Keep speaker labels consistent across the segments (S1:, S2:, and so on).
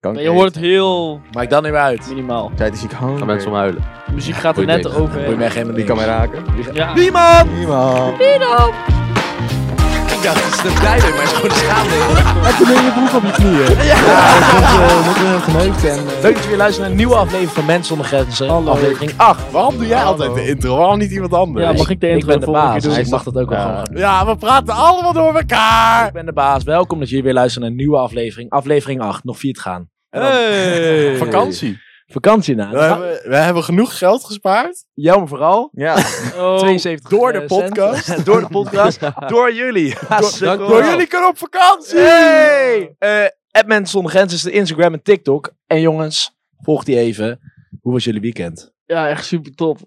S1: Kanker
S2: Maar je hoort
S1: eten.
S2: heel
S1: Maakt dat niet meer uit.
S2: minimaal.
S3: Tijd is ik honger.
S4: Gaan mensen om huilen.
S2: De muziek gaat er
S4: Goeie
S2: net
S4: idee.
S1: Moet je mij
S2: overheen.
S1: geen
S3: Die kan mij raken.
S2: Ja.
S1: Niemand!
S3: Niemand.
S1: Ik dacht, het is een blijder, maar het is gewoon een schaamde.
S3: En toen ben je broek op je knieën. Ja, ik moet heel geneukt en... eh,
S1: Leuk dat je weer luistert naar een nieuwe aflevering van Mens zonder Grenzen.
S2: Hallo.
S1: Aflevering 8.
S4: Waarom doe jij
S3: Hallo.
S4: altijd de intro? Waarom niet iemand anders?
S2: Ja, mag ik de
S1: Ik
S2: intro
S1: ben de
S2: volgende keer
S1: baas,
S2: doen?
S1: dus ik mag dat ook wel
S4: Ja.
S1: gewoon gaan doen.
S4: Ja, we praten allemaal door elkaar.
S1: Ik ben de baas. Welkom dat jullie weer luisteren naar een nieuwe aflevering. Aflevering 8, nog vier te gaan. En dan
S4: Hey. Vakantie.
S1: Vakantie na.
S4: We hebben, we hebben genoeg geld gespaard.
S1: Jammer vooral.
S3: Ja,
S2: Oh,
S1: 72
S4: door de
S1: eh,
S4: podcast.
S1: cent. door de podcast. door jullie.
S3: dank
S4: Door jullie kunnen op vakantie.
S1: Hey! Eh App Mensen Zonder Grenzen is de Instagram en TikTok. En jongens, volg die even. Hoe was jullie weekend?
S2: Ja, echt super top.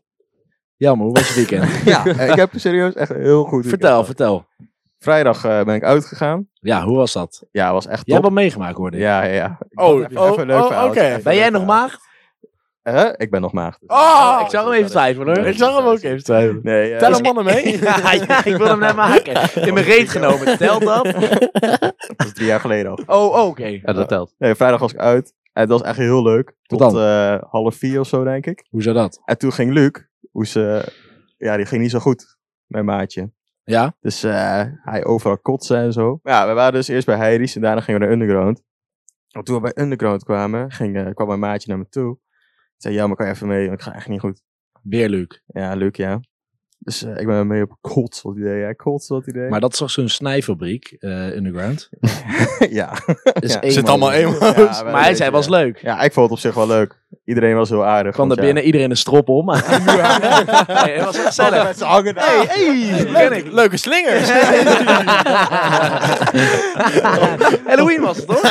S1: Jammer, hoe was je weekend?
S3: ja. eh, ik heb serieus echt heel goed weekend
S1: vertel,
S3: gehad.
S1: vertel.
S3: Vrijdag eh, ben ik uitgegaan.
S1: Ja, hoe was dat?
S3: Ja, was echt
S1: Jij
S3: top.
S1: hebt wel meegemaakt, hoorde ik.
S3: Ja, ja, ja.
S4: Oh,
S3: Even
S4: oh,
S3: een leuk
S4: oh,
S3: verhaal.
S4: oké.
S3: Even
S1: Ben
S3: een
S1: jij
S3: leuk
S1: nog
S3: verhaal.
S1: maagd?
S3: Eh, ik ben nog maagd. Dus-
S4: Oh,
S1: ik zag hem even twijfelen hoor. dus
S3: Nee.
S4: Ik zag hem ook even twijfelen.
S3: Nee, eh,
S4: Tel
S3: dat
S4: hem mannen mee.
S1: Ja, ja, ik wil hem net maken. In mijn reet genomen, telt dat?
S3: was drie jaar geleden al.
S1: Oh, oh, oké.
S4: Ja, dat telt.
S3: Nee, vrijdag was ik uit. En dat was echt heel leuk. Tot,
S1: dan?
S3: eh, half vier of zo, denk ik.
S1: Hoezo dat?
S3: En toen ging Luc, hoe ze, ja, die ging niet zo goed, mijn maatje.
S1: Ja?
S3: Dus eh, hij overal kotsen en zo. Maar ja, we waren dus eerst bij Heiris en daarna gingen we naar Underground. En toen we bij Underground kwamen, ging, eh, kwam mijn maatje naar me toe. Ik zei, ja, maar kan je even mee? Want ik ga echt niet goed.
S1: Weer Luc.
S3: Ja, Luc, ja. Dus eh, ik ben mee op kots, wat idee. Ja, kots, wat idee.
S1: Maar dat is toch zo'n snijfabriek, eh, Underground?
S3: ja.
S1: Dat is
S3: Ja.
S1: één
S4: Zit
S1: man.
S4: allemaal één
S3: Ja, wel een
S1: Maar hij
S3: beetje,
S1: zei, was
S3: ja.
S1: leuk.
S3: Ja, ik vond het op zich wel leuk. Iedereen was heel aardig.
S1: Kwam daar
S3: want
S1: binnen, iedereen een strop om. Nee, het was
S3: Ja. Alle
S1: gezellig.
S3: mensen hangen daar.
S1: Hey, hey, ben ik.
S4: Leuke slingers.
S1: Halloween was het, toch?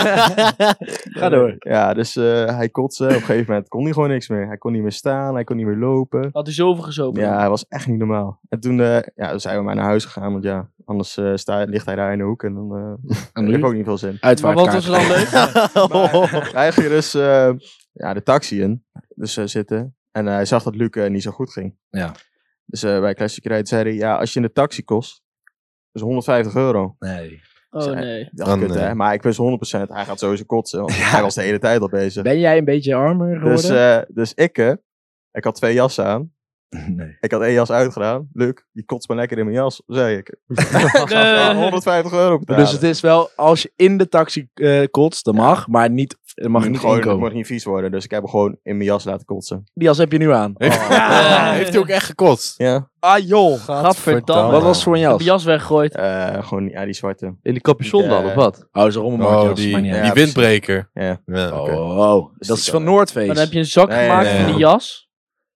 S1: Ga door.
S3: Ja, dus eh, hij kotste. Op een gegeven moment kon hij gewoon niks meer. Hij kon niet meer staan, hij kon niet meer lopen.
S2: Had hij zoveel gezopen?
S3: Ja, hij was echt niet normaal. En toen eh, ja, toen zijn we maar naar huis gegaan, want ja, anders eh, sta, ligt hij daar in de hoek en dan eh
S1: En
S3: heeft
S1: nu?
S3: ook niet veel zin.
S2: Maar wat was er dan leuk?
S3: Maar hij ging dus eh, ja, de taxi in, dus eh, zitten. En eh, hij zag dat Luc eh, niet zo goed ging.
S1: Ja.
S3: Dus eh, bij Classic Ride zei hij, ja, als je in de taxi kost, is 150 euro.
S1: Nee.
S2: Oh nee.
S3: Ik dacht,
S4: Dan,
S3: kut,
S4: eh,
S3: hè? Maar ik wist 100%, hij gaat sowieso kotsen, want hij was de hele tijd al bezig.
S1: Ben jij een beetje armer geworden?
S3: Dus, eh, dus ik, eh, ik had twee jassen aan.
S4: eh,
S1: nee.
S3: Ik had één jas uitgedaan. Luc, je kotst maar lekker in mijn jas, zei ik.
S2: Nee.
S3: 150 euro betalen.
S1: Dus het is wel, als je in de taxi eh kotst, dat mag, maar niet, er mag
S3: Ik
S1: niet
S3: gewoon,
S1: inkomen.
S3: Ik mag niet vies worden, dus ik heb hem gewoon in mijn jas laten kotsen.
S1: Die jas heb je nu aan.
S4: Oh. Ja, Heeft hij ook echt gekotst?
S3: Ja.
S1: Ah joh,
S2: Gadverdamme.
S1: Wat was het voor een
S2: Heb
S1: jas?
S2: je jas weggegooid?
S3: Eh, gewoon, ja, die zwarte.
S4: In de capuchon
S3: dan, of
S4: wat?
S1: Oh, zo'n rommelmarkt
S4: Oh,
S1: jas,
S4: die,
S1: maar niet
S3: ja.
S1: uit.
S4: die
S3: precies.
S4: windbreker.
S3: Ja.
S4: Ja.
S3: Oké.
S1: Oh, oh,
S3: Dus
S1: dat
S3: die
S1: is
S3: kan
S1: van
S3: wel.
S1: Noordfeest.
S2: Maar dan heb je een zak
S3: Nee,
S2: gemaakt
S4: nee,
S2: van die
S4: nee.
S2: jas.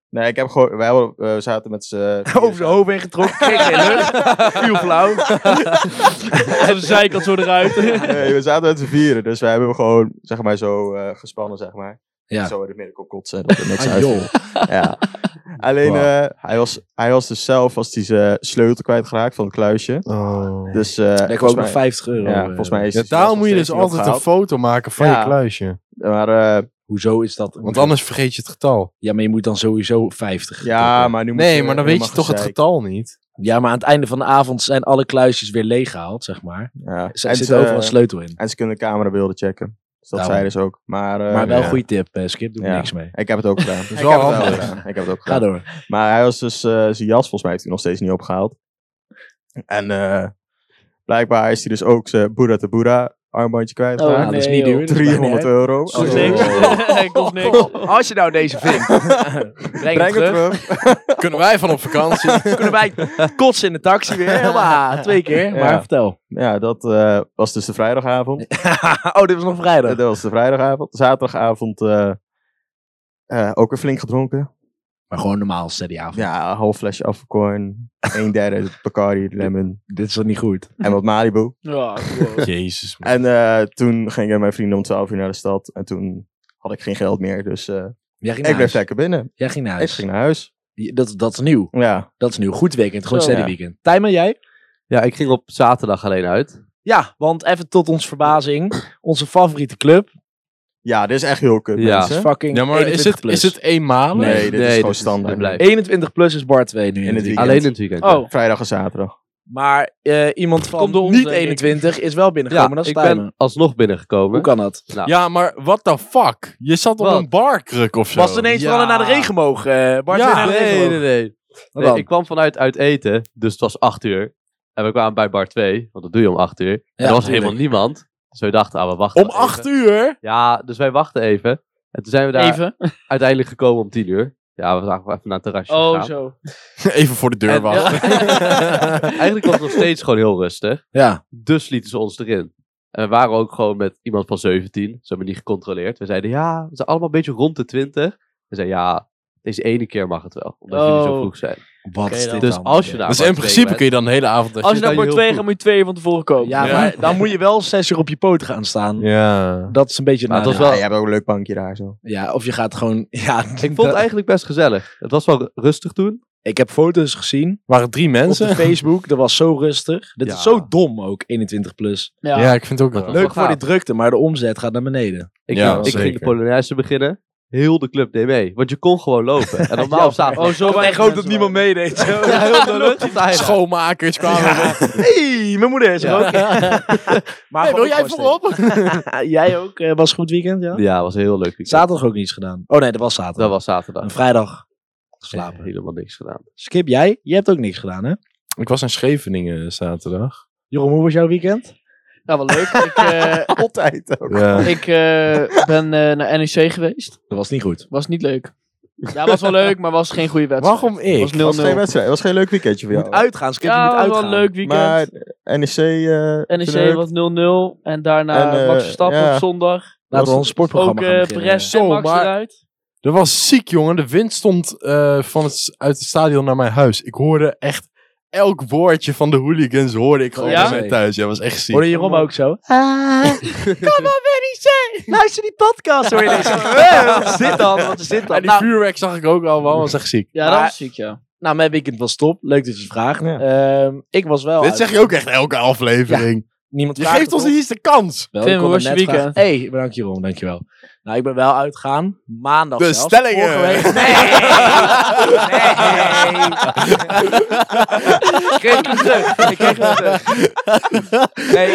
S3: Nee, ik heb gewoon, wij hadden eh, we zaten met z'n...
S1: Over zijn hoofd heen getrokken, kreeg geen Ah, lucht, viel flauw.
S2: Aan de zijkant zo eruit.
S3: Nee, we zaten met z'n vieren, dus wij hebben hem gewoon, zeg maar, zo eh, gespannen, zeg maar.
S1: Ja.
S3: Zo in het midden kon kotsen, dat er niks
S1: Ah
S3: uit.
S1: joh,
S3: Ja. Alleen,
S1: Wauw.
S3: eh, hij, was, hij was dus zelf, was die zijn sleutel kwijtgeraakt van het kluisje.
S4: Oh.
S3: Dus, eh
S1: lekker
S3: volgens
S1: ook nog
S3: mij-
S1: 50 euro.
S3: Ja,
S1: eh.
S3: volgens mij is
S4: Ja,
S3: het
S4: daarom moet je dus altijd een
S3: opgehaald.
S4: foto maken van
S3: Ja.
S4: je kluisje.
S3: Maar, eh,
S1: Hoezo is dat?
S4: Want anders vergeet je het getal.
S1: Ja, maar je moet dan sowieso 50.
S3: ja, maar nu moet
S4: Nee,
S3: je-
S4: maar dan
S3: nu
S4: weet
S3: mag
S4: je toch het
S3: gezeik.
S4: getal niet.
S1: Ja, maar aan het einde van de avond zijn alle kluisjes weer leeggehaald, zeg maar.
S3: Ja.
S1: Er
S3: En
S1: zit
S3: ze- eh,
S1: overal een sleutel in.
S3: En ze kunnen camerabeelden checken. Dus dat
S1: Daarom.
S3: zei dus ook. Maar, eh,
S1: Maar wel
S4: ja.
S1: goede tip, eh, Skip. Doe er
S3: Ja.
S1: niks mee.
S3: ik heb het ook gedaan. Dus
S4: is
S3: ik,
S4: wel
S3: heb het
S4: handig.
S3: gedaan. ik heb het ook
S1: Ga
S3: gedaan.
S1: door.
S3: Maar hij was dus, eh, zijn jas volgens mij heeft hij nog steeds niet opgehaald. En eh, blijkbaar is hij dus ook zijn Boeddha te Boeddha armbandje
S2: Oh,
S3: kwijtgeraakt.
S1: dat is
S2: nee,
S1: niet
S2: joh.
S1: duur. dat is bijna
S3: 300 euro.
S1: Zo
S2: Kost
S1: Oh.
S2: niks. Kost niks.
S1: Als je nou deze vindt, breng,
S3: Breng
S1: hem
S3: het
S1: terug.
S3: terug.
S4: Kunnen wij van op vakantie?
S1: Kunnen wij kotsen in de taxi weer? Helemaal, twee keer. Maar
S3: Ja.
S1: vertel.
S3: Ja, dat eh, was dus de vrijdagavond.
S1: oh, dit was nog vrijdag.
S3: Dat was de vrijdagavond. Zaterdagavond eh, eh, ook weer flink gedronken.
S1: Maar gewoon normaal, steady avond.
S3: Ja, een half flesje afgekorn. Een derde Bacardi Lemon.
S1: Dit is toch niet goed?
S3: En wat Malibu.
S2: Ja, wow.
S4: Jezus. man.
S3: En eh, toen gingen mijn vrienden om 12 uur naar de stad. En toen had ik geen geld meer. Dus eh,
S1: Jij
S3: ik
S1: ging naar
S3: bleef
S1: huis.
S3: lekker binnen.
S1: Jij ging naar
S3: Ik
S1: huis.
S3: ging naar huis.
S1: Je- Dat, dat is nieuw.
S3: Ja.
S1: Dat is nieuw. Goed weekend. Gewoon
S2: Zo,
S1: steady
S3: ja.
S1: weekend. Tijmen, jij?
S5: Ja, ik ging op zaterdag alleen uit.
S1: Ja, want even tot ons verbazing. Onze favoriete club
S3: ja, dit is echt heel kut,
S5: Ja.
S1: is
S3: mensen.
S1: fucking
S4: Ja, maar is
S1: 21
S4: het,
S1: plus.
S4: is het eenmalig?
S3: Nee, dit is gewoon
S5: dit
S3: standaard.
S5: dit blijft.
S1: 21 plus is bar 2 nu.
S3: In het
S1: natuurlijk.
S3: weekend.
S5: Alleen in het weekend.
S2: Oh,
S3: Vrijdag en zaterdag.
S1: Maar eh, iemand van
S2: Komt door ons,
S1: niet
S2: denk ik.
S1: 21 is wel binnengekomen.
S5: ja,
S1: dat is
S5: ik
S1: Tijmen.
S5: ben alsnog binnengekomen.
S1: Hoe kan dat?
S5: Nou,
S4: Ja, maar what the fuck? Je zat op
S5: Wat?
S4: een barkruk of zo.
S1: Was het ineens
S2: ja.
S1: vooral naar de regenboog? eh Bart
S4: Ja.
S1: weer naar de
S5: nee, nee,
S1: regenboog.
S5: nee. nee.
S1: Wat dan?
S5: ik kwam vanuit uit eten, dus het was acht uur. En we kwamen bij bar 2, want dat doe je om acht uur. En
S1: Ja,
S5: er was
S1: tuurlijk.
S5: helemaal niemand. Dus we dachten, ah, we wachten
S4: Om
S5: nog even.
S4: acht uur?
S5: Ja, dus wij wachten even. En toen zijn we daar
S2: Even.
S5: uiteindelijk gekomen om tien uur. Ja, we zagen wel even naar het terrasje
S2: Oh,
S5: gegaan.
S2: zo.
S4: Even voor de deur
S5: En-
S4: wachten. Dus
S5: Eigenlijk was het nog steeds gewoon heel rustig.
S1: Ja.
S5: Dus lieten ze ons erin. En we waren ook gewoon met iemand van 17. Ze hebben niet gecontroleerd. We zeiden, ja, we zijn allemaal een beetje rond de 20. We zeiden, ja, deze ene keer mag het wel. Omdat jullie zo
S2: Oh.
S5: vroeg zijn.
S1: Wat
S2: Oké,
S1: is
S2: dan.
S1: dit
S5: Dus
S1: dan?
S5: als je daar
S4: Dus
S5: maar
S4: in
S5: twee
S4: principe
S5: bent-
S4: kun je dan de hele avond...
S2: Als je naar
S5: dan
S2: bord
S5: heel
S2: 2
S5: goed.
S2: gaat, moet je twee uur van tevoren komen.
S1: Ja,
S4: Ja.
S1: maar dan moet je wel zes uur op je poot gaan staan.
S4: Ja.
S1: Dat is een beetje
S5: Maar het
S1: naar.
S5: was
S3: Ja,
S5: wel,
S3: je hebt ook een leuk bankje daar zo.
S1: Ja, of je gaat gewoon... Ja,
S5: ik vond het eigenlijk best gezellig. Het was wel ru- rustig toen.
S1: ik heb foto's gezien
S4: Waren drie
S1: op
S4: mensen?
S1: de Facebook. Dat was zo rustig. Dit
S5: Ja.
S1: is zo dom ook, 21 plus.
S2: Ja.
S4: Ja. ik vind het ook wel.
S5: Leuk.
S1: Leuk voor
S5: gaaf.
S1: die drukte, maar de omzet gaat naar beneden. eh,
S5: Ik,
S4: Ja,
S5: ik ging
S4: zeker.
S5: de Polonaise beginnen. Heel de club deed mee. Want je kon gewoon lopen. En normaal op zaterdag...
S2: Oh, zo
S1: Ik had
S2: weinig
S1: echt hoop dat
S2: mensen
S1: niemand meedeed. zo.
S5: Ja, heel de lucht op de heidag.
S4: Schoonmakers kwamen.
S1: hey, mijn moeder is er ook. Maar
S4: Hey,
S1: gewoon
S4: wil jij
S1: ook gewoon
S4: voorop?
S1: steeds. jij ook? eh, was een goed weekend, ja?
S5: Ja, was een heel leuk. weekend.
S1: Zaterdag ook niets gedaan. Oh nee, dat was zaterdag.
S5: Dat was zaterdag.
S1: En vrijdag
S5: Eh,
S1: geslapen.
S5: Helemaal niks gedaan.
S1: Skip, jij? Je hebt ook niks gedaan, hè?
S4: Ik was in Scheveningen eh, zaterdag.
S1: Jeroen, hoe was jouw weekend?
S2: Nou, wel leuk. Ik, eh,
S3: Altijd ook.
S4: Ja.
S2: ik eh, ben eh, naar NEC geweest.
S1: Dat was niet goed.
S2: Was niet leuk. Ja, was wel leuk, maar was geen goede wedstrijd.
S4: Waarom ik?
S2: Was 0-0.
S3: Het was geen wedstrijd. Het was geen leuk weekendje voor
S1: Je moet
S3: jou.
S1: uitgaan, Skip.
S2: Ja,
S1: je moet
S2: was wel
S1: uitgaan.
S2: een leuk weekend.
S3: Maar NEC... eh
S2: NEC
S3: leuk.
S2: was 0-0. En daarna
S3: En, eh,
S2: Max Verstappen
S3: ja.
S2: op zondag.
S1: Laten we
S3: Was-
S1: ons
S2: Ook
S1: sportprogramma gaan
S2: eh
S1: beginnen.
S2: Perez en
S4: Zo,
S2: Max
S4: maar-
S2: eruit.
S4: Dat was ziek, jongen. De wind stond eh, van het, s- uit het stadion naar mijn huis. Ik hoorde echt elk woordje van de hooligans hoorde ik gewoon
S2: Ja?
S4: bij mij thuis. Ja, was echt ziek.
S1: Hoorde Jeroen ook zo? Kom op, NEC! Luister die podcast, hoor je ineens. Eh, Wat is dit dan? Wat is dit
S4: en
S1: dan?
S4: die
S1: Nou,
S4: vuurwerk zag ik ook allemaal. Was echt ziek.
S2: Ja,
S1: Maar-
S2: dat was ziek, ja.
S1: nou, mijn weekend was top. Leuk dat je het vraagt.
S3: Ja.
S1: Ehm, ik was wel...
S4: Dit
S1: uit-
S4: zeg je ook echt elke aflevering.
S1: Niemand
S4: Je
S1: vraagt
S4: geeft ons
S1: erop.
S4: niet eens de kans.
S1: Wel,
S2: Tim,
S1: ik kon
S2: hoe
S1: het
S2: was
S1: net
S2: je
S1: vragen.
S2: weekend?
S1: hey, bedankt Jeroen, dankjewel. Nou, ik ben wel uitgegaan. Maandag
S4: De
S1: zelfs.
S4: stellingen.
S1: Vorige week. Nee! nee. ik kreeg hem terug. Ik kreeg hem terug. Nee,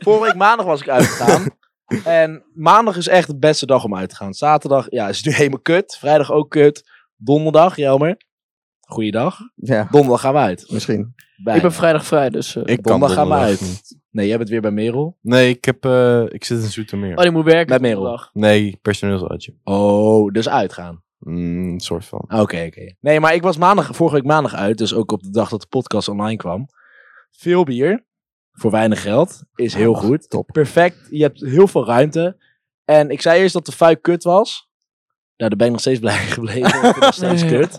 S1: vorige week maandag was ik uitgegaan. En maandag is echt de beste dag om uit te gaan. Zaterdag, ja, is nu helemaal kut. Vrijdag ook kut. Donderdag, Jelmer. Goeiedag.
S3: Ja,
S1: Donderdag gaan we uit.
S3: misschien.
S1: Bijna.
S2: Ik ben vrijdag vrij, dus... eh,
S4: Ik
S1: Donderdag gaan we uit.
S4: niet.
S1: Nee, jij bent weer bij Merel.
S4: Nee, ik, heb, eh, ik zit in Zoetermeer.
S2: Oh, die moet werken.
S1: Bij Merel.
S2: donderdag.
S4: Nee, personeelsuitje.
S1: Oh, dus uitgaan. Ah,
S4: Mm, een soort van.
S1: Oké, oké. Nee, maar ik was maandag, vorige week maandag uit. Dus ook op de dag dat de podcast online kwam. Veel bier. Voor weinig geld. Is heel goed.
S3: top.
S1: Perfect. Je hebt heel veel ruimte. En ik zei eerst dat de fuik kut was. Nou, daar ben ik nog steeds blij gebleven. want Ik vind het nog steeds kut.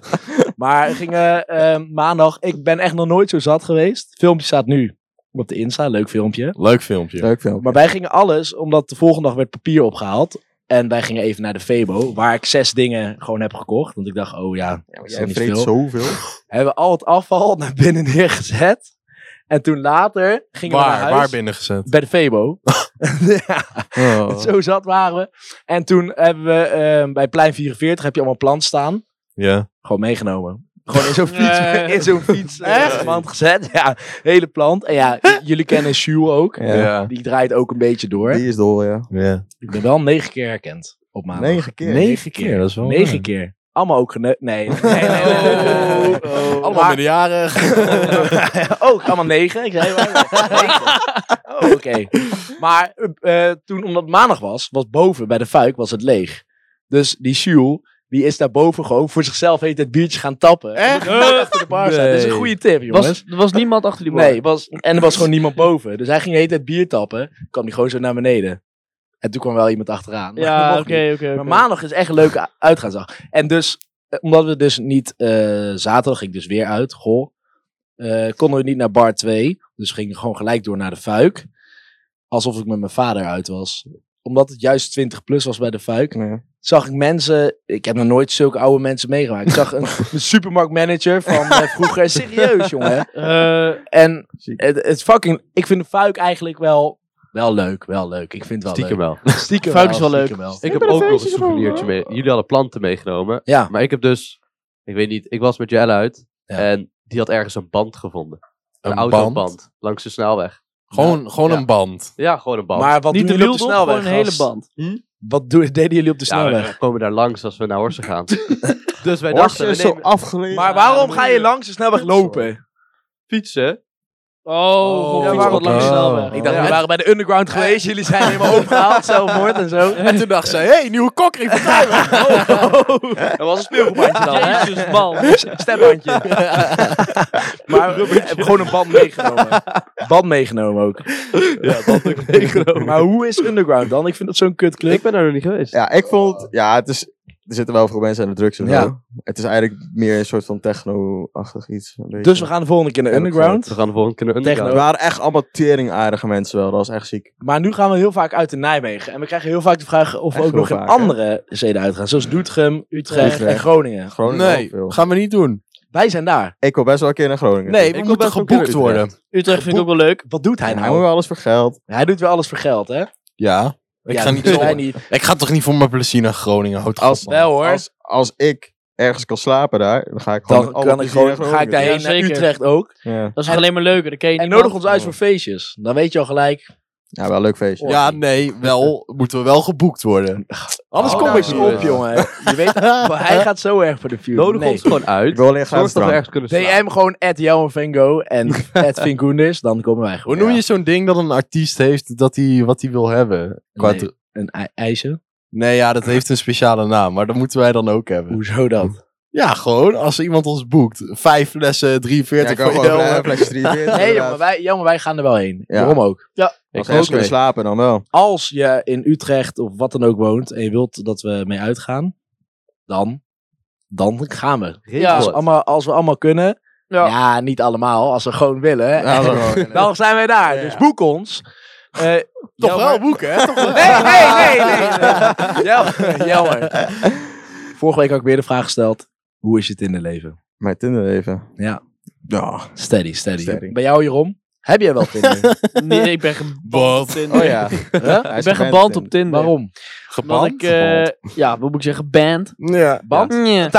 S1: Maar we gingen eh, maandag. Ik ben echt nog nooit zo zat geweest. Filmpje staat nu op de Insta. Leuk filmpje.
S4: Leuk filmpje.
S3: Leuk film.
S1: Maar wij gingen alles, omdat de volgende dag werd papier opgehaald. En wij gingen even naar de Febo, waar ik zes dingen gewoon heb gekocht. Want ik dacht, oh ja,
S3: Ja,
S1: is dat
S3: jij
S1: niet
S3: vreet
S1: veel?
S3: zoveel.
S1: hebben we al het afval naar binnen neergezet. En toen later gingen we naar
S4: Waar?
S1: huis.
S4: Waar binnengezet?
S1: Bij de Febo. ja,
S4: Oh.
S1: Zo zat waren we. En toen hebben we eh, bij Plein 44 heb je allemaal plant staan.
S4: Ja.
S1: Gewoon meegenomen. Gewoon in zo'n fiets,
S2: Nee.
S1: in zo'n fiets eh, mand gezet. Ja, hele plant. En ja, j- jullie kennen Sjoel ook.
S3: Ja.
S4: Ja.
S1: Die draait ook een beetje door.
S3: Die is dol, ja. Nou,
S4: ja.
S1: Ik ben wel negen keer herkend op maandag.
S3: Negen keer.
S4: Negen keer, dat is wel
S1: Negen
S4: raar.
S1: keer. Allemaal ook gene... Nee. nee, nee, nee, nee, nee,
S4: Oh.
S1: nee.
S2: Oh.
S4: Allemaal
S1: Maar-
S4: minderjarig.
S1: oh, ik allemaal negen. Ik zei maar negen. Oh, oké. Maar eh, eh, toen, omdat het maandag was, was boven bij de fuik was het leeg. Dus die Sjoel, die is daar boven gewoon voor zichzelf heeft het biertje gaan tappen. Echt? achter de bar staan. Dat is een
S4: Nee.
S1: goede tip, jongens.
S2: Was, er was niemand achter die bar.
S1: nee, was, en er was gewoon niemand boven. Dus hij ging heet het bier tappen. Kwam die gewoon zo naar beneden. En toen kwam wel iemand achteraan. Maar dat
S2: Ja,
S1: mocht
S2: oké,
S1: niet.
S2: oké. oké.
S1: Maar maandag is echt een leuke uitgaansdag. En dus, eh, omdat we dus niet... eh, zaterdag ging ik dus weer uit, goh. eh, konden we niet naar bar 2. Dus we gingen gewoon gelijk door naar de Fuik. Alsof ik met mijn vader uit was. Omdat het juist 20 plus was bij de Fuik,
S3: Ja.
S1: zag ik mensen... Ik heb nog nooit zulke oude mensen meegemaakt. Ik zag een, een supermarktmanager van eh, vroeger. Serieus, jongen.
S2: Eh,
S1: En
S3: Ziek.
S1: het, het fucking... Ik vind de Fuik eigenlijk wel... Wel leuk, wel leuk. Ik vind het wel
S5: Stiekem wel.
S1: leuk. Stiekem
S2: Fuik is wel leuk.
S1: stiekem wel.
S5: Ik heb ook nog een souvenirtje mee. Jullie hadden planten meegenomen.
S1: Ja.
S5: Maar ik heb dus, ik weet niet, ik was met Jelle uit.
S1: Ja.
S5: En die had ergens een band gevonden. Een,
S4: Een
S5: autoband
S4: band.
S5: langs de snelweg.
S4: Gewoon, gewoon
S5: Ja.
S4: een band.
S5: Ja, gewoon een band.
S1: Maar wat
S2: Niet
S1: doen
S2: de
S1: jullie op de
S2: wieltop, gewoon
S1: snelweg?
S2: een hele
S1: gast?
S2: band.
S1: Wat doen- deden jullie op de
S5: ja,
S1: snelweg?
S5: we komen daar langs als we naar Horsen gaan. dus wij
S3: Horst
S5: dachten, we
S3: is zo
S5: nemen
S3: afgelegen.
S1: maar waarom ga je langs de snelweg lopen?
S5: fietsen.
S2: Oh,
S1: Ja,
S2: gewoon fietsen
S1: waarom-
S2: wat langs de
S4: Oh.
S2: snelweg.
S1: Ik dacht,
S5: Ja.
S1: we waren bij de underground geweest. Jullie zijn helemaal overgehaald, zelfmoord en zo.
S4: En toen dacht ze, hé, hey, nieuwe kokring van Kruijwijk.
S1: Oh.
S5: Dat was een speelgoedbandje dan. hè?
S2: Jezus, man.
S1: Stembandje. Dus, maar we hebben gewoon een band meegenomen. Band meegenomen ook.
S5: Ja, band ook meegenomen.
S1: Maar hoe is underground dan? Ik vind dat zo'n kutclub.
S5: Ik ben daar nog niet geweest.
S3: Ja, ik vond... Ja, het is... Er zitten wel veel mensen aan de drugs en
S1: Ja.
S3: zo. Het is eigenlijk meer een soort van techno-achtig iets. een beetje.
S1: Dus we gaan de volgende keer naar
S3: Ja, dat
S1: underground.
S5: We gaan de volgende keer naar
S1: Techno.
S5: Underground.
S3: Er waren echt allemaal teringaardige mensen wel. Dat was echt ziek.
S1: Maar nu gaan we heel vaak uit in Nijmegen. En we krijgen heel vaak de vraag of we
S3: Echt
S1: ook nog
S3: heel
S1: in
S3: vaak, hè?
S1: andere steden uitgaan. Zoals Doetinchem, Utrecht en
S3: Utrecht.
S1: Groningen.
S3: Groningen wel
S4: Nee,
S3: veel.
S4: gaan we niet doen.
S1: Wij zijn daar.
S3: Ik wil best wel een keer naar Groningen.
S4: Nee,
S5: Ik
S4: we
S5: wil
S4: moeten
S5: best wel
S4: geboekt
S5: kunnen,
S4: worden.
S2: Utrecht vind ik ook wel leuk.
S1: Wat doet hij
S3: Hij moet
S1: nou?
S3: wel alles voor geld.
S1: Hij doet wel alles voor geld, hè?
S4: Ja. Ik,
S1: Ja,
S4: ga niet
S1: wij
S4: zomaar-
S1: niet.
S4: ik ga toch niet voor mijn plezier naar Groningen. Houd
S3: Als-
S4: op, man.
S1: Wel hoor.
S3: Als, als ik ergens kan slapen daar, dan ga ik gewoon
S1: Dan
S3: alle
S1: kan ik
S3: plezier naar
S1: gewoon, ga ik
S3: Groningen.
S1: daarheen
S2: Ja,
S1: naar
S2: zeker.
S1: Utrecht ook.
S3: Ja.
S2: Dat is toch alleen maar leuker. Dan ken je
S1: En
S2: niemand.
S1: nodig ons uit voor feestjes. Dan weet je al gelijk.
S3: ja, wel een leuk feestje.
S4: Ja, nee, wel moeten we wel geboekt worden. Anders
S1: Oh,
S4: kom
S1: nou,
S4: ik niet.
S1: op,
S5: Ja.
S1: jongen. Je weet, hij gaat zo erg voor de vuur.
S5: Nodig
S1: nee.
S5: ons gewoon
S3: Ik
S5: uit.
S3: wil alleen graag
S5: Zorg dat we
S3: drank.
S5: ergens kunnen slapen.
S1: DM gewoon at Johan van Gogh en at Vinkoenders, dan komen wij
S4: Hoe
S1: gewoon.
S4: noem je zo'n ding dat een artiest heeft dat hij wat hij wil hebben? Qua
S1: Nee.
S4: dru-
S1: Een ei- eisen?
S4: Nee, ja, dat heeft een speciale naam, maar dat moeten wij dan ook hebben.
S1: Hoezo dat?
S4: Ja, gewoon als iemand ons boekt. Vijf flessen,
S3: Ja, ik
S4: 43
S3: kan
S4: voor
S3: gewoon
S4: jou.
S3: eh, flesje 43.
S1: Nee, jongen,
S3: inderdaad.
S1: wij, jongen, wij gaan er wel heen.
S3: Ja.
S1: Waarom ook?
S3: Als
S5: Ik
S3: we ergens
S5: ook
S3: kunnen
S5: mee.
S3: slapen, dan wel.
S1: Als je in Utrecht of wat dan ook woont en je wilt dat we mee uitgaan, dan, dan gaan we.
S5: Regel
S1: Als we
S5: het.
S1: allemaal, als we allemaal kunnen. Ja.
S2: Ja.
S1: niet allemaal. Als we gewoon willen. hè.
S3: Ja, dan wel.
S1: dan zijn wij daar.
S3: Ja, ja.
S1: Dus boek ons. Eh,
S4: Toch
S1: Jelmer-
S4: wel boeken, hè? Toch wel.
S1: Nee, nee, nee. nee. Jelmer, Jelmer. Vorige week had ik weer de vraag gesteld. Hoe is het in het leven?
S3: Mijn Tinder even.
S1: Ja.
S3: Ja.
S1: Steady, steady.
S3: Steady.
S1: Bij jou, Jeroen? Heb jij wel Tinder?
S2: Nee, ik ben geband
S4: Wat?
S2: op Tinder.
S3: Oh ja.
S1: Huh?
S3: Hij
S2: Ik
S3: is
S2: ben geband op Tinder.
S1: Waarom?
S2: Omdat ik, eh, ja, wat moet ik zeggen, band.
S4: Ja.
S1: Band?
S2: Nee.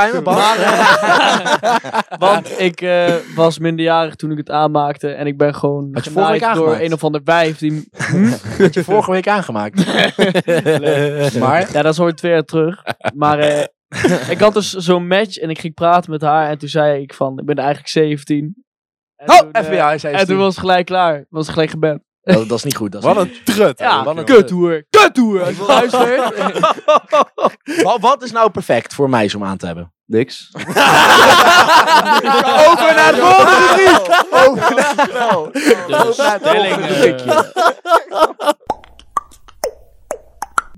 S2: Want ik eh, was minderjarig toen ik het aanmaakte. En ik ben gewoon
S1: Had je vorige week
S2: genaaid door
S1: aangemaakt?
S2: een of ander wijf. Die...
S1: Had je vorige week aangemaakt. maar,
S2: Ja, dat is ooit twee jaar terug. Maar eh, ik had dus zo'n match en ik ging praten met haar. En toen zei ik van, ik ben eigenlijk 17. En
S1: oh,
S2: toen, eh,
S1: FBI, zei
S2: En toen
S1: ze.
S2: was het gelijk klaar. Was het gelijk geband.
S1: Oh, dat is niet goed. Dat is
S4: Wat
S1: niet
S4: een trut.
S2: Ja,
S1: wat een
S2: kuthoer. Kuthoer. Als je luistert.
S1: goed. Wa- Wat is nou perfect voor meisjes om aan te hebben?
S5: Niks.
S1: Over naar de volgende rubriek!
S2: Dus stellingen.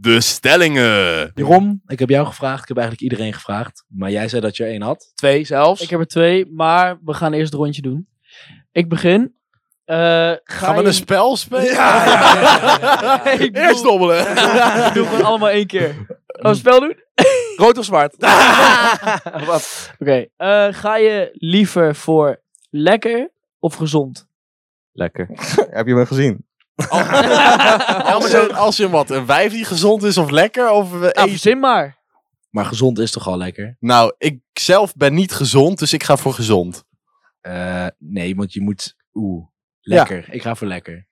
S4: De stellingen.
S1: Jeroen, ik heb jou gevraagd. Ik heb eigenlijk iedereen gevraagd. Maar jij zei dat je er één had. Twee zelfs.
S2: Ik heb er twee, maar we gaan eerst het rondje doen. Ik begin. Eh, ga
S4: Gaan we
S2: je-
S4: een spel spelen?
S2: Ik doe-
S4: Eerst dobbelen.
S2: Ik doe gewoon allemaal één keer. Oh, een spel doen?
S1: Rood of zwart?
S2: Oké. eh, ga je liever voor lekker of gezond?
S5: Lekker.
S3: Heb je me gezien?
S4: Als je, als je wat, een wijf die gezond is of lekker? Of eh, we
S2: Nou,
S4: eten-
S2: verzin maar.
S1: Maar gezond is toch al lekker?
S4: Nou, ik zelf ben niet gezond, dus ik ga voor gezond.
S1: Eh, nee, want je moet... Oeh, lekker. Ik ga voor lekker.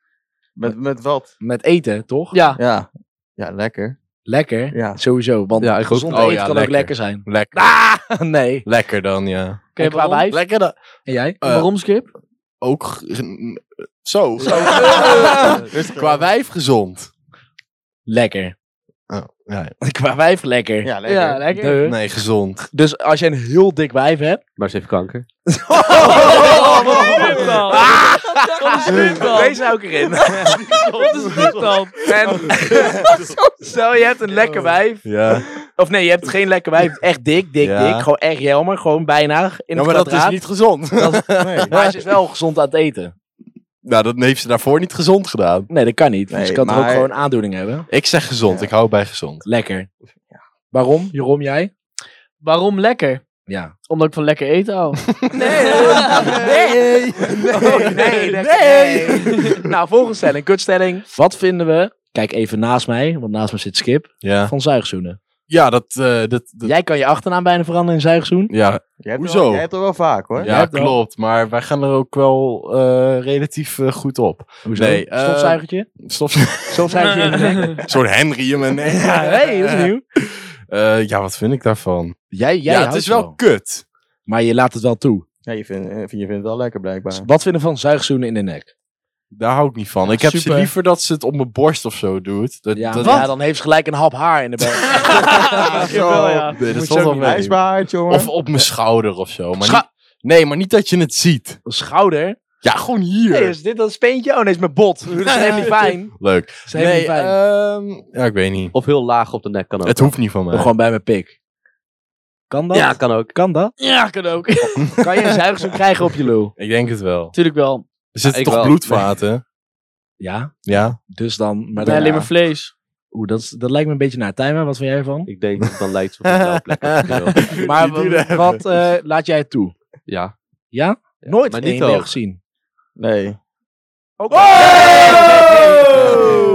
S3: Met, met wat?
S1: Met eten, toch?
S2: Ja.
S3: Ja. Ja, lekker.
S1: Lekker.
S3: Ja.
S1: Sowieso, want
S5: Ja, ik ook.
S1: gezond
S4: Oh,
S1: eten
S4: ja,
S1: kan ook
S4: lekker.
S1: lekker zijn.
S4: Lekker.
S1: Ah, nee.
S4: Lekker dan, ja.
S2: Oké,
S1: En qua
S2: waarom?
S1: wijf?
S4: Lekker dan.
S1: En jij?
S4: eh,
S2: waarom, Skip?
S4: Ook ge- zo. zo. Qua wijf gezond.
S1: Lekker.
S4: Ja,
S1: Qua wijf lekker.
S3: Ja, lekker.
S2: Ja, lekker.
S1: Duh.
S4: nee, gezond.
S1: Dus als je een heel dik wijf hebt...
S5: Maar ze heeft kanker.
S2: Oh, wat is dit dan? Wat is dit dan?
S1: Deze hou ik erin.
S2: nou- Wat is dit dan?
S1: En stel je hebt een lekker wijf.
S4: Ja.
S1: Of nee, je hebt geen lekker wijf. Echt dik, dik,
S4: Ja.
S1: dik. Gewoon echt jelmer. Gewoon bijna in het
S4: Nou, maar dat is
S1: kwadraat.
S4: niet gezond.
S3: Nee.
S1: Maar ze is wel gezond aan het eten.
S4: nou, dat heeft ze daarvoor niet gezond gedaan.
S1: Nee, dat kan niet.
S3: Nee,
S1: dus je kan toch ook
S3: maar-
S1: gewoon aandoening hebben.
S4: Ik zeg gezond,
S3: Ja.
S4: ik hou bij gezond.
S1: Lekker. Waarom? Jeroen, jij?
S2: Waarom lekker?
S1: Ja.
S2: Omdat ik van lekker eten hou.
S1: Nee. Nee. Nee. Nee. Nou, volgende stelling. Kutstelling. Wat vinden we... Kijk even naast mij, want naast me zit Skip.
S4: Ja.
S1: Van zuigzoenen.
S4: Ja, dat... eh, dat, dat-
S1: Jij kan je achternaam bijna veranderen in zuigzoen.
S4: ja,
S3: Jij hebt
S4: Hoezo?
S3: Er wel, jij hebt er wel vaak hoor.
S4: ja, klopt. Maar wij gaan er ook wel eh, relatief eh, goed op.
S1: Hoezo?
S4: Nee, eh,
S1: Stofzuigertje?
S4: Stof-
S1: Stofzuigertje in de nek?
S4: Zo'n Henry hem en...
S1: Ja, hey, dat is nieuw.
S4: Eh, ja, wat vind ik daarvan?
S1: Jij, jij
S4: ja,
S1: houdt
S4: het is wel, kut.
S1: Maar je laat het wel toe.
S3: Ja, je vindt, eh, je vindt het wel lekker blijkbaar.
S1: Wat vinden van zuigzoenen in de nek?
S4: Daar hou ik niet van. Ik heb ze
S2: super.
S4: liever dat ze het op mijn borst of zo doet. Dat,
S1: Ja,
S4: dat,
S1: maar ja, dan heeft ze gelijk een hap haar in de bek.
S2: Ja, wel, ja.
S4: Nee,
S1: Moet
S4: dat valt
S1: je ook
S4: wel
S1: niet
S4: mee.
S3: IJsbaard, jongen.
S4: Of op mijn schouder of zo. Maar
S1: Scha-
S4: niet, nee, maar niet dat je het ziet.
S1: Schouder?
S4: Ja, gewoon hier.
S1: Nee, is dit dat speentje? Oh nee, is mijn bot. Dat is helemaal niet fijn.
S4: Leuk.
S1: Dat is helemaal
S4: Nee,
S1: niet fijn.
S4: ehm, ja, ik weet niet.
S5: Of heel laag op de nek kan ook.
S4: Het hoeft niet van mij.
S1: Of gewoon bij mijn pik. Kan dat?
S5: ja, kan ook.
S1: kan dat?
S2: Ja, kan ook.
S1: Kan je een zuigzoen krijgen op je lul?
S4: Ik denk het wel.
S2: Tuurlijk wel.
S4: Er zitten
S5: ik
S4: toch
S5: wel.
S4: bloedvaten?
S1: Ja,
S4: Ja.
S1: dus dan... Maar
S2: Bij
S1: dan
S2: alleen maar vlees.
S1: Oeh, dat, is- dat lijkt me een beetje naar Tijmen. Wat vind jij ervan?
S5: Ik denk dat dan lijkt het op een plek. als ik wil.
S1: Maar
S4: Die duurde
S1: wat,
S4: even.
S1: wat, eh, laat jij het toe?
S5: Ja.
S1: Ja?
S5: Ja,
S1: Nooit
S5: maar
S1: één
S5: niet
S1: ding
S5: hoog.
S1: gezien.
S3: Nee.
S1: Oké.
S4: Oh!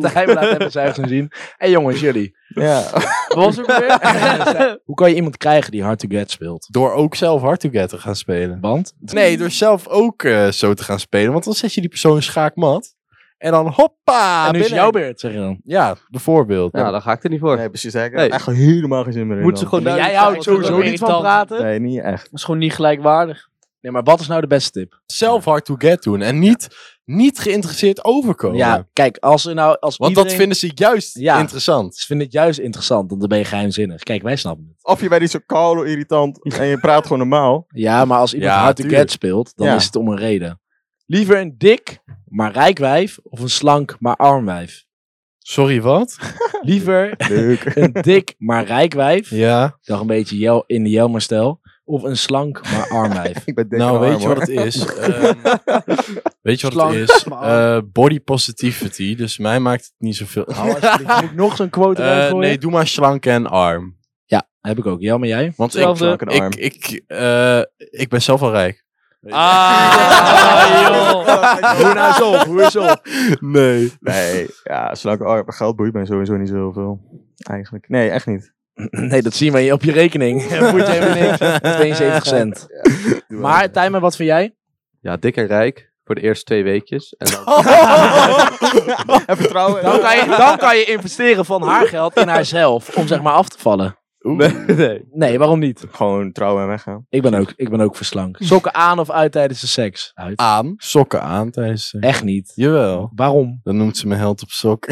S1: Tijmen laat even zuigzoen zien. En jongens, jullie.
S3: Ja.
S2: Wat was het ook weer?
S1: Hoe kan je iemand krijgen die hard to get speelt?
S4: Door ook zelf hard to get te gaan spelen.
S1: Want?
S4: Nee, door zelf ook eh, zo te gaan spelen. Want dan zet je die persoon schaakmat. En dan hoppa.
S1: en nu is
S4: binnen.
S1: jouw beurt, zeg je dan.
S4: Ja, bijvoorbeeld.
S5: Nou, daar ga ik er niet voor.
S3: Nee, precies. Daar heb ik
S5: Nee.
S3: echt helemaal geen zin meer in.
S5: Moet ze
S3: dan.
S5: gewoon duidelijk
S1: jij houdt
S5: zijn wat
S1: sowieso
S5: ze
S1: niet
S5: willen.
S1: van praten.
S3: Nee, niet echt.
S2: Dat is gewoon niet gelijkwaardig.
S1: Nee, maar wat is nou de beste tip?
S4: Zelf hard to get doen. En niet, niet geïnteresseerd overkomen.
S1: Oh, Ja, kijk, als er nou... Als
S4: Want dat
S1: iedereen...
S4: vinden ze juist
S1: Ja.
S4: interessant.
S1: Ze vinden het juist interessant, want dan ben je geheimzinnig. Kijk, wij snappen het.
S3: Of je bent niet zo kaal en irritant en je praat gewoon normaal.
S1: Ja, maar als iemand
S4: Ja,
S1: hard to
S4: tuurlijk.
S1: get speelt, dan
S3: Ja.
S1: is het om een reden. Liever een dik, maar rijk wijf, of een slank, maar arm wijf.
S4: Sorry, wat?
S1: Liever
S3: Leuk.
S1: een dik, maar rijk wijf,
S4: Ja.
S1: dan een beetje jel, in de jelmerstijl, of een slank, maar arm wijf.
S3: Ik ben dik
S4: nou,
S3: en
S4: weet
S3: arm,
S4: je
S3: hoor.
S4: wat het is? Ehm, weet je wat
S2: Slank,
S4: het is?
S2: maar arm.
S4: Eh, body positivity. Dus mij maakt het niet zoveel uit.
S1: Nou, alsjeblieft, moet ik nog zo'n quote erin
S4: Eh,
S1: gooien?
S4: nee, doe maar slank en arm.
S1: Heb ik ook. Jelmer, jij?
S4: Want ik,
S2: Hetzelfde.
S3: Slank en arm.
S4: ik, ik, eh, ik ben zelf al rijk.
S2: Ah, joh.
S1: Hoe nou zo? Hoe is op?
S4: Nee.
S3: Nee, ja, slank en arm. Geld boeit mij sowieso niet zoveel. Eigenlijk. Nee, echt niet.
S1: Nee, dat zien we op je rekening. Moet je helemaal niks. 72 cent.
S3: Doe
S1: Maar Tijmen, wat vind jij?
S5: Ja, dik en rijk. Voor de eerste twee weekjes. En dan
S3: maar. En vertrouwen.
S1: Dan kan, je, dan kan je investeren van haar geld in haarzelf om zeg maar af te vallen.
S5: nee.
S1: Nee, waarom niet?
S3: Gewoon trouwen en weggaan.
S1: Ik ben ook, ik ben ook verslank. Sokken aan of uit tijdens de seks? Uit.
S4: Aan. Sokken aan tijdens. eh,
S1: Echt niet.
S4: Ah, Jawel.
S1: Waarom?
S4: Dan noemt ze me held op sok.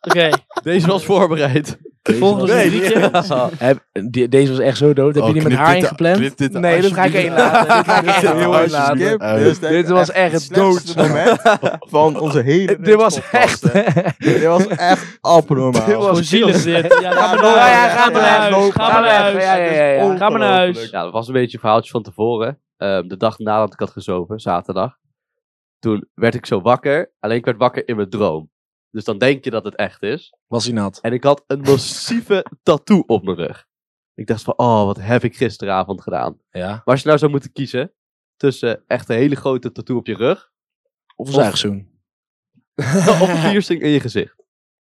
S2: Oké,
S5: Deze was voorbereid.
S2: volgende
S1: was,
S2: rubriekje.
S1: heb, die- deze was echt zo dood. Heb
S4: Oh,
S1: je die met
S4: knip
S1: haar
S4: dit
S1: in
S4: er-
S1: gepland?
S4: knip dit er
S1: nee, dat ga ik één
S4: alsjeblieft
S1: laten. Dit ga ik
S4: Ja,
S1: heel
S4: alsjeblieft.
S1: laten.
S4: Skip.
S3: Dus denk
S1: Dit
S3: ik
S1: was
S3: het
S1: echt
S3: slechtste
S1: dood.
S3: moment van onze hele
S1: Dit was echt.
S3: podcast, hè. Dit was echt abnormaal.
S1: Dit was
S2: Hoe zielig is dit? Ja, ga maar door.
S1: Ja, ja, ga
S2: Ga maar
S1: maar
S2: naar huis.
S1: weg.
S2: Ga maar naar huis.
S1: Ja, ja, ja, ja.
S2: Ga maar naar huis.
S5: Ja, dat was een beetje een verhaaltje van tevoren. Ehm, de dag nadat ik had gezopen, zaterdag. Toen werd ik zo wakker. Alleen ik werd wakker in mijn droom. Dus dan denk je dat het echt is.
S1: Was hij nat?
S5: En ik had een massieve tattoo op mijn rug. Ik dacht van, oh, wat heb ik gisteravond gedaan.
S1: Ja.
S5: Maar als je nou zou moeten kiezen tussen echt een hele grote tattoo op je rug
S1: Of een zuigzoen?
S5: of een piercing in je gezicht.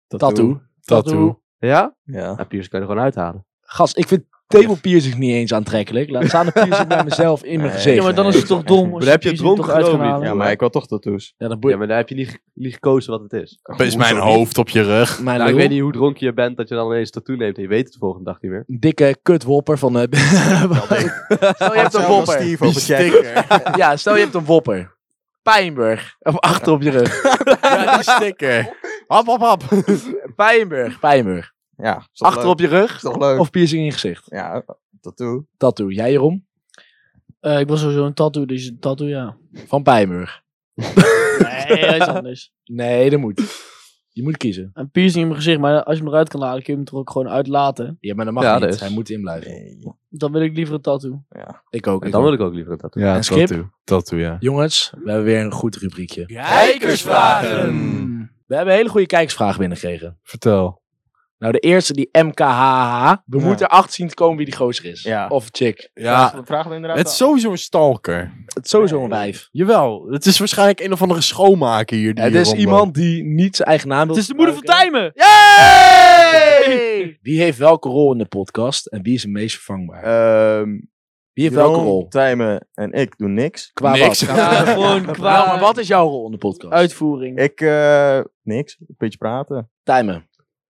S1: Tattoo.
S4: Tattoo.
S5: Ja?
S3: Ja.
S5: Nou, piercing kan je er gewoon uithalen.
S1: Gast, ik vind table piercing niet eens aantrekkelijk. Laat staan een piercing bij mezelf in mijn
S3: Nee.
S1: gezicht.
S2: Ja, maar dan is het toch dom.
S5: Maar dan heb je het dronken
S2: uit
S5: geloof ik.
S3: Ja, maar ik wil toch tattoos.
S1: Ja, dan boeit
S5: Ja, maar dan heb je niet, ge- niet gekozen wat het is.
S4: Is mijn hoofd op je rug.
S1: mijn
S5: Nou, ik
S1: lul.
S5: weet niet hoe dronken je bent dat je dan ineens een tattoo neemt en je weet het de volgende dag niet meer.
S1: Een dikke kutwopper van... eh, stel je hebt een
S3: Hetzelfde als
S1: wopper.
S3: Steve op
S4: Die
S3: het checker.
S1: Ja, stel je hebt een wopper. Pijnburg. Of achter op je rug.
S4: Ja, die sticker. Hap, hap, hap.
S1: Pijnburg. Pijnburg.
S3: Ja, is toch
S1: Achter op je
S3: leuk?
S1: rug
S3: Is toch leuk?
S1: of piercing in je gezicht.
S3: Ja, tattoo.
S1: Tattoo. Jij Jeroen?
S2: Eh, ik was sowieso een tattoo, dus een tattoo, ja.
S1: Van Pijnburg.
S2: Nee, dat is anders.
S1: Nee, dat moet. Je moet kiezen.
S2: Een piercing in mijn gezicht, maar als je hem eruit kan halen, kun je hem er ook gewoon uitlaten.
S1: Ja, maar dat mag
S5: Ja,
S1: niet.
S5: dat is-
S1: Hij moet in blijven.
S2: Dan wil ik liever een tattoo.
S1: Ik ook.
S5: En
S1: ik
S5: dan
S1: ook.
S5: wil ik ook liever een tattoo.
S4: Ja,
S1: En Skip?
S4: tattoo. Tattoo, ja.
S1: Jongens, we hebben weer een goed rubriekje.
S4: Kijkersvragen.
S1: We hebben een hele goede kijkersvraag binnengekregen.
S4: Vertel.
S1: Nou, de eerste die MKHH. We
S3: Ja.
S1: moeten erachter zien te komen wie die gozer is.
S3: Ja.
S1: Of chick.
S4: Ja,
S3: vragen we inderdaad
S4: het is sowieso een stalker.
S1: Het is sowieso een wijf.
S4: Jawel, het is waarschijnlijk een of andere schoonmaker hier. die
S1: het is
S4: hier rondloopt.
S1: iemand die niet zijn eigen naam wil
S2: Het is de moeder van Tijmen!
S1: Yay! Wie heeft welke rol in de podcast en wie is het meest vervangbaar?
S3: Ehm
S1: wie heeft welke
S3: Jeroen,
S1: rol?
S3: Tijmen en ik doen niks.
S1: Qua
S4: Niks.
S1: wat?
S2: Ja, gewoon
S1: Nou,
S2: qua
S1: maar wat is jouw rol in de podcast?
S2: uitvoering.
S3: Ik, eh, niks. Een beetje praten.
S1: Timen.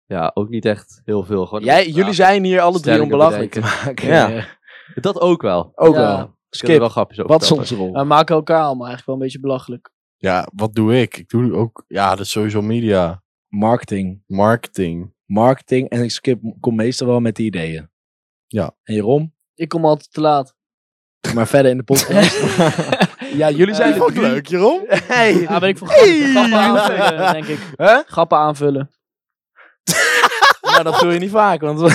S5: Ja, ook niet echt heel veel. Gewoon
S1: Jij, jullie zijn hier alle drie om
S5: Stellingen
S1: belachelijk te
S5: bedenken.
S1: maken.
S3: Ja.
S1: Eh,
S5: Dat ook wel. Ik
S1: Ook
S2: Ja.
S1: wel.
S5: kan er wel
S1: Skip,
S5: grapjes over
S1: wat is
S5: vertellen.
S1: onze rol?
S2: We maken Nou, elkaar allemaal eigenlijk wel een beetje belachelijk.
S4: Ja, wat doe ik? Ik doe ook, ja, de social media,
S1: Marketing.
S4: marketing.
S1: Marketing. En Skip komt meestal wel met die ideeën.
S4: Ja.
S1: En Jeroen?
S2: Ik kom altijd te laat.
S1: Maar verder in de podcast. ja, jullie zijn
S2: Eh,
S1: de
S4: Vond ik
S1: drie.
S4: leuk, Jeroen.
S1: Hey.
S2: Ja, ben ik voor grap- grappen aanvullen, denk ik.
S1: Huh?
S2: Grappen aanvullen.
S1: Nou, dat doe je niet vaak, want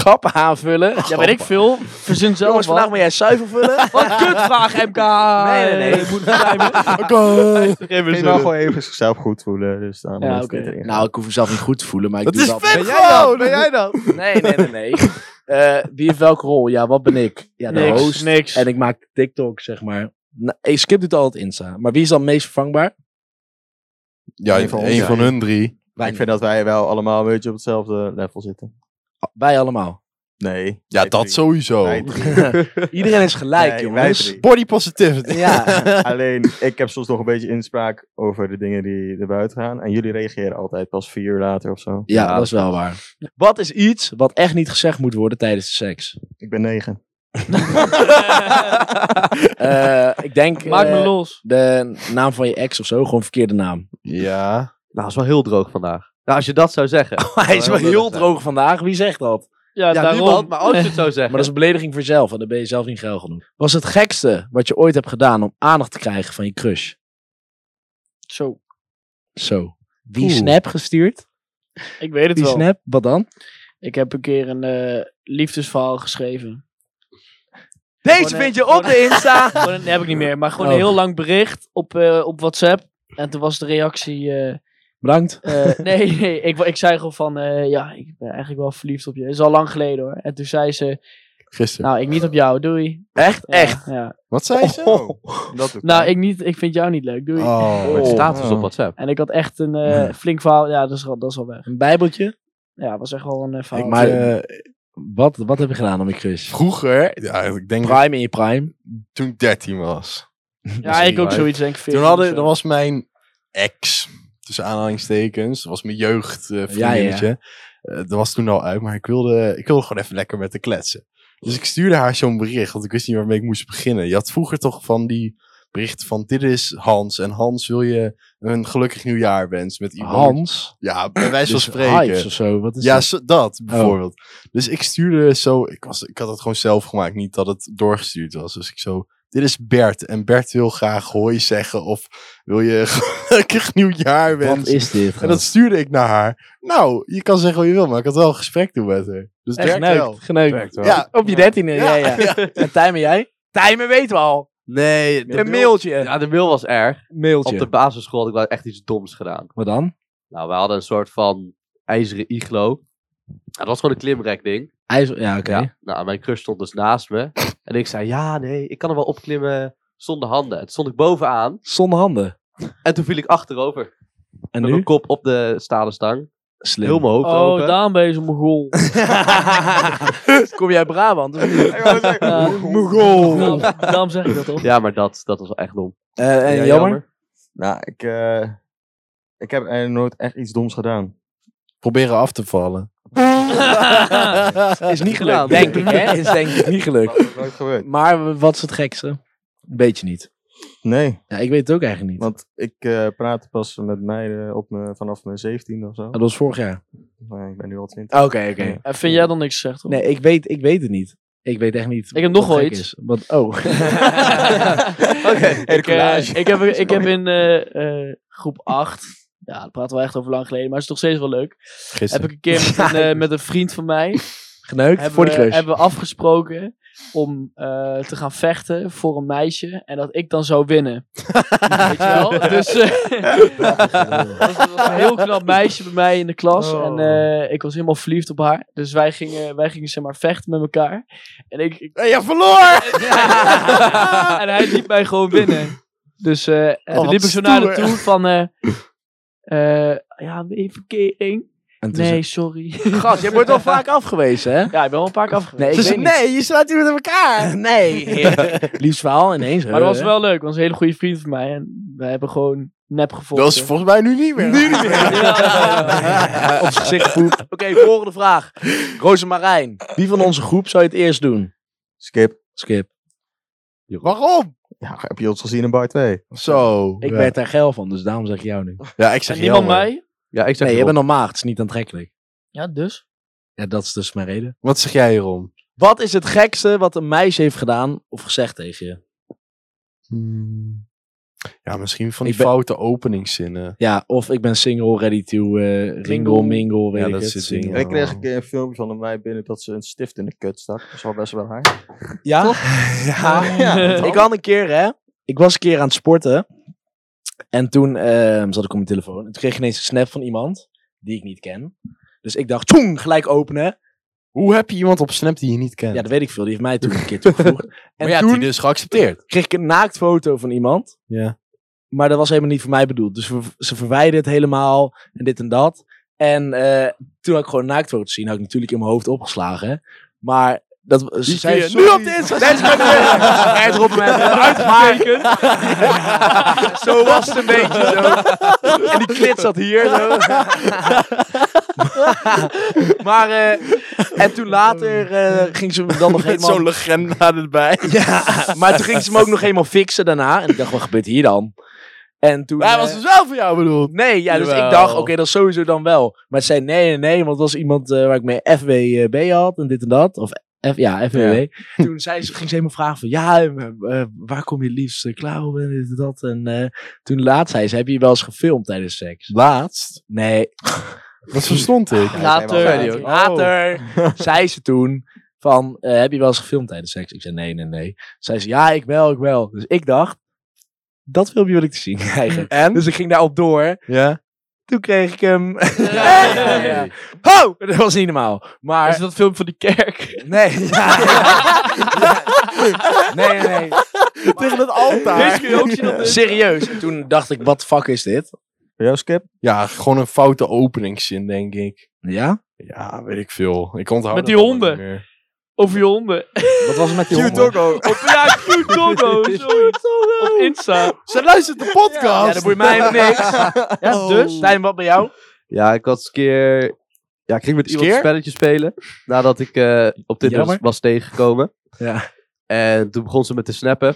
S1: grappen aanvullen.
S2: Ja, ben ik veel. Verzin zelf
S1: Jongens,
S2: wat.
S1: vandaag moet jij zuivel vullen.
S2: Wat kutvraag, MK!
S1: Nee, nee, nee.
S2: Ik moet timen.
S4: Oké.
S3: Ik wil gewoon even zichzelf goed voelen. Dus daar
S2: Ja,
S3: moet het
S2: oké.
S3: niet in.
S1: Nou, ik hoef mezelf niet goed te voelen, maar ik
S4: Dat
S1: doe
S4: is
S1: wel.
S4: vet
S1: dat?
S4: gewoon!
S1: Ben jij dat? Nee, nee, nee, nee. Eh, wie heeft welke rol? Ja, wat ben ik? Ja, de
S2: Niks,
S1: host.
S2: niks.
S1: En ik maak TikTok, zeg maar. Nou, eh, Skip doet altijd Insta. Maar wie is dan het meest vervangbaar?
S4: Ja,
S3: Een
S4: een
S3: van
S4: van,
S3: ons, ja.
S4: hun drie.
S1: Wij,
S3: ik vind dat wij wel allemaal een beetje op hetzelfde level zitten.
S1: wij allemaal.
S3: Nee.
S4: Ja,
S3: wij
S4: dat
S3: drie.
S4: sowieso.
S3: Wij drie.
S1: Iedereen is
S3: Nee,
S1: gelijk,
S3: wij
S1: jongens.
S3: drie.
S4: Body positivity.
S1: Ja,
S3: Alleen, ik heb soms nog een beetje inspraak over de dingen die er buiten gaan. En jullie reageren altijd pas vier uur later of zo.
S1: ja,
S5: Ja,
S1: dat is wel waar. Wat is iets wat echt niet gezegd moet worden tijdens de seks?
S3: Ik ben negen.
S1: Eh, ik denk
S2: Maak me
S1: eh,
S2: los.
S1: de naam van je ex of zo, gewoon verkeerde naam.
S4: Ja.
S5: Nou, is wel heel droog vandaag. Nou, als je dat zou zeggen.
S1: Hij is wel
S5: lullig
S1: heel
S5: zijn.
S1: droog vandaag. Wie zegt dat?
S2: Ja,
S5: ja,
S2: daarom.
S5: niemand, maar als je het zou zeggen.
S1: Maar dat is een belediging voor jezelf en dan ben je zelf niet geil genoeg. Was het gekste wat je ooit hebt gedaan om aandacht te krijgen van je crush?
S2: Zo,
S1: Zo. Die
S4: Oeh.
S1: snap gestuurd?
S2: ik weet het
S1: Die
S2: wel.
S1: snap? Wat dan?
S2: Ik heb een keer een eh, liefdesverhaal geschreven.
S5: Deze
S2: Gewoon, eh,
S5: vind je op de Insta.
S2: Gewoon, dat heb ik niet meer, maar gewoon
S1: Ah. Oh.
S2: een heel lang bericht op, eh, op WhatsApp. En toen was de reactie... eh,
S1: Bedankt.
S2: eh, nee, nee ik, wa- ik zei gewoon van... eh, ja, ik ben eigenlijk wel verliefd op je. is al lang geleden hoor. En toen zei ze...
S4: Gisteren.
S2: Nou, ik niet op jou, doei.
S1: Echt?
S2: Ja,
S1: Echt?
S2: Ja.
S4: Wat zei ze?
S3: Dat doe
S2: Nou, ik, niet, ik vind jou niet leuk, doei.
S4: Oh.
S5: Maar het
S1: Oh.
S5: staat dus op WhatsApp.
S2: En ik had echt een eh, flink verhaal. Ja, dat is, al- dat is al weg.
S1: Een bijbeltje?
S2: Ja, het was echt wel een eh, verhaal.
S1: maar-
S4: Eh,
S1: Wat, wat heb je gedaan om je crush?
S4: vroeger, ja, ik denk dat
S1: Prime in je prime?
S4: toen ik 13 was.
S2: ja,
S1: eh,
S2: ik ook zoiets denk ik.
S4: Toen
S2: 14 of
S4: hadden,
S2: zo.
S4: dat was mijn ex, tussen aanhalingstekens. Dat was mijn jeugd eh, vriendinnetje. Eh, dat was toen al uit, maar ik wilde, ik wilde gewoon even lekker met haar kletsen. Dus ik stuurde haar zo'n bericht, want ik wist niet waarmee ik moest beginnen. Je had vroeger toch van die berichten van dit is Hans. En Hans wil je een gelukkig nieuwjaar wensen met iemand.
S1: Hans?
S4: Ja, bij wijze van
S1: Dus
S4: spreken.
S1: Hives of zo? Wat is
S4: Ja,
S1: Dus dat? Oh.
S4: zo- dat bijvoorbeeld. Dus ik stuurde zo, ik, was, ik had het gewoon zelf gemaakt, niet dat het doorgestuurd was. Dus ik zo, dit is Bert en Bert wil graag hoi zeggen of wil je gelukkig nieuwjaar
S1: Wat
S4: wensen.
S1: is dit?
S4: En dat stuurde ik naar haar. Nou, je kan zeggen wat je wil, maar ik had wel een gesprek toen met haar. Dus het
S1: Echt
S4: werkt wel.
S1: geneukt. geneukt.
S5: Werkt wel.
S4: Ja.
S1: Op je dertiende, ja,
S4: Ja.
S1: ja. En Tijmen, jij? Tijmen weten we al.
S5: Nee, de
S1: Een mailtje.
S5: Ja, de mail was erg.
S1: mailtje.
S5: Op de basisschool had ik wel echt iets doms gedaan.
S1: Wat dan?
S5: Nou, we hadden een soort van ijzeren iglo. Nou, dat was gewoon een klimrekding.
S1: IJssel, ja, oké.
S5: Ja, nou, mijn crush stond dus naast me. En ik zei, ja, nee, ik kan er wel opklimmen zonder handen. En toen stond ik bovenaan.
S1: Zonder handen.
S5: En toen viel ik achterover.
S1: En
S5: met
S1: nu?
S5: mijn kop op de stalen stang.
S1: Slim.
S5: Heel mijn hoofd
S2: Oh,
S5: open.
S2: daarom ben je zo'n mogol.
S1: Kom jij Brabant? of niet?
S2: Ja.
S1: Mogol.
S2: daarom, Eh, daarom zeg ik dat toch?
S5: Ja, maar dat, dat was wel echt dom.
S1: Eh, en
S5: Ja,
S1: jammer?
S3: Nou, ik, eh, ik heb eigenlijk nooit echt iets doms gedaan.
S4: Proberen af te vallen.
S1: Is niet
S5: gedaan.
S1: gelukt, denk ik. Hè? Is denk ik niet
S3: Dat
S1: gelukt.
S3: is nooit gebeurd.
S1: Maar wat is het gekste? Weet je niet.
S3: Nee,
S1: Ja, ik weet het ook eigenlijk niet.
S3: want ik eh praat pas met meiden op me, vanaf mijn zeventiende of zo.
S1: Dat was vorig jaar.
S3: Maar ik ben nu al twintig.
S1: Oké,
S3: oké.
S2: En vind jij dan niks gezegd? hoor?
S1: Nee, ik weet, ik weet het niet. Ik weet echt niet.
S2: Ik heb nog
S1: wat
S2: wel
S1: gek
S2: iets.
S1: is. Want, oh.
S3: Oké,
S2: ik, eh, ik heb, ik heb in eh, eh, groep 8, ja, dat praten we echt over lang geleden, maar het is nog steeds wel leuk. Heb
S4: Gisteren.
S2: ik een keer met een, eh, met een vriend van mij,
S1: Geneukt
S2: hebben,
S1: voor die
S2: we-
S1: crush.
S2: hebben we afgesproken om eh, te gaan vechten voor een meisje en dat ik dan zou winnen. Weet je wel? Dus eh, dat was een heel knap meisje bij mij in de klas
S1: Oh.
S2: en eh, ik was helemaal verliefd op haar. Dus wij gingen, wij gingen zeg maar vechten met elkaar. En ik, ik-
S4: En je verloor!
S2: en hij liet mij gewoon binnen. Dus eh, en
S4: wat
S2: toen liep ik zo naar haar
S4: stoer.
S2: toe van... eh, eh, ja, een verkering.
S1: En toen
S2: Nee, sorry.
S1: zei- gast, je wordt al vaak afgewezen, hè?
S2: Ja, ik ben wel een paar keer afgewezen. Dus
S1: Nee, ik weet niet.
S4: je slaat iemand in elkaar.
S1: Nee. Liefst verhaal ineens.
S2: Maar dat was wel leuk, want het was een hele goede vriend van mij. En we hebben gewoon nep gevolgd.
S4: Dat is volgens mij nu niet meer. Nu niet meer.
S1: Ja, op zijn gezicht poep. Oké, volgende vraag. Rozemarijn, wie van onze groep zou je het eerst doen?
S3: Skip.
S1: Skip.
S4: Waarom?
S3: Ja, heb je ons gezien in bar 2?
S4: Zo.
S1: Ik
S4: ja.
S1: werd daar geil van, dus daarom zeg ik jou nu.
S4: Ja, ik zeg
S2: en niemand
S4: jammer.
S2: mij.
S5: Ja, ik zeg
S1: Nee, je bent
S5: Rob.
S1: nog maagd, het is niet aantrekkelijk.
S2: Ja, dus.
S1: Ja, dat is dus mijn reden.
S4: Wat zeg jij hierom?
S1: Wat is het gekste wat een meisje heeft gedaan of gezegd tegen je?
S4: Ja, misschien van die
S1: Ik ben-
S4: foute openingszinnen.
S1: Ja, of ik ben single, ready to eh
S2: Mingle.
S1: ringle, mingle, weet
S4: Ja,
S1: ik
S4: dat
S1: het.
S4: soort
S1: single.
S4: dingen.
S3: Ik kreeg een keer een filmpje van mij binnen dat ze een stift in de kut stak. Dat is wel best wel haar.
S1: Ja?
S4: Ja.
S1: Ik had een keer, hè. Ik was een keer aan het sporten. En toen ehm, zat ik op mijn telefoon. En toen kreeg ik ineens een snap van iemand die ik niet ken. Dus ik dacht, tjoeng, gelijk openen.
S4: Hoe heb je iemand op Snap die je niet kent?
S1: Ja, dat weet ik veel. Die heeft mij toen een keer toegevoegd. En
S4: maar ja,
S1: toen
S4: die dus geaccepteerd.
S1: kreeg ik een naaktfoto van iemand.
S4: Ja.
S1: Maar dat was helemaal niet voor mij bedoeld. Dus we- ze verwijderde het helemaal. En dit en dat. En eh, toen had ik gewoon een naaktfoto gezien. Had ik natuurlijk in mijn hoofd opgeslagen. Maar dat, ze zei...
S4: kun je
S1: "Sorry."
S4: nu op de Insta
S1: Mensen kunnen weer- Airdrop hem even uit, maar- zo was het een beetje zo. En die klit zat hier zo. maar, eh, en toen later eh, ging ze me dan nog
S4: Met
S1: helemaal...
S4: zo'n legenda erbij.
S1: Ja, maar toen ging ze me ook nog helemaal fixen daarna. En ik dacht, wat gebeurt hier dan? En toen...
S4: Hij
S1: eh,
S4: was dus wel voor jou bedoeld.
S1: Nee, ja, dus
S4: Jawel.
S1: ik dacht, oké, dat is sowieso dan wel. Maar ze zei nee, nee, nee, want het was iemand eh, waar ik mee FWB had en dit en dat. Of F, ja, FWB. Toen zei ze, ging ze helemaal vragen van, ja, eh, eh, waar kom je het liefst eh, klaar op en dit en dat. En eh, toen laat zei ze, heb je je wel eens gefilmd tijdens seks?
S4: Laatst.
S1: Nee,
S4: Dat verstond ik.
S5: zei
S2: Later.
S5: die ook.
S1: later zei ze toen van, eh, heb je wel eens gefilmd tijdens seks? Ik zei nee, nee, nee. Zei ze, ja, ik wel, ik wel. Dus ik dacht, dat filmpje wil ik te zien krijgen.
S4: En?
S1: Dus ik ging daarop door.
S4: Ja.
S1: Toen kreeg ik hem.
S2: Ja.
S1: Ja. Ho! Dat was niet normaal. Maar.
S2: Is dat film van die kerk?
S1: Nee. Ja, ja. Nee, nee, nee.
S4: Tegen het altaar.
S2: Deze kun je dus. ook zien op de-
S1: Serieus. En Toen dacht ik, wat fuck is dit?
S3: Voor jou, Skip?
S4: Ja, gewoon een foute openingszin, denk ik.
S1: Ja?
S4: Ja, weet ik veel. Ik onthoud
S2: Met
S4: dat
S2: die
S4: allemaal
S2: honden.
S4: niet meer.
S2: Of je honden.
S1: Wat was het met die
S3: Cute
S1: honden?
S3: doggo.
S2: Op, ja, cute Togo. zoiets. Op Insta.
S4: Ze luistert de podcast.
S1: Ja, dat boeit mij helemaal niks. Ja, dus. Stijn, wat bij jou?
S5: Ja, ik had eens een keer... Ja, ik ging met iemand
S4: Skeer?
S5: een spelletje spelen. Nadat ik eh, op dit was,
S1: Jammer.
S5: was tegengekomen.
S1: Ja.
S5: En toen begon ze met te snappen.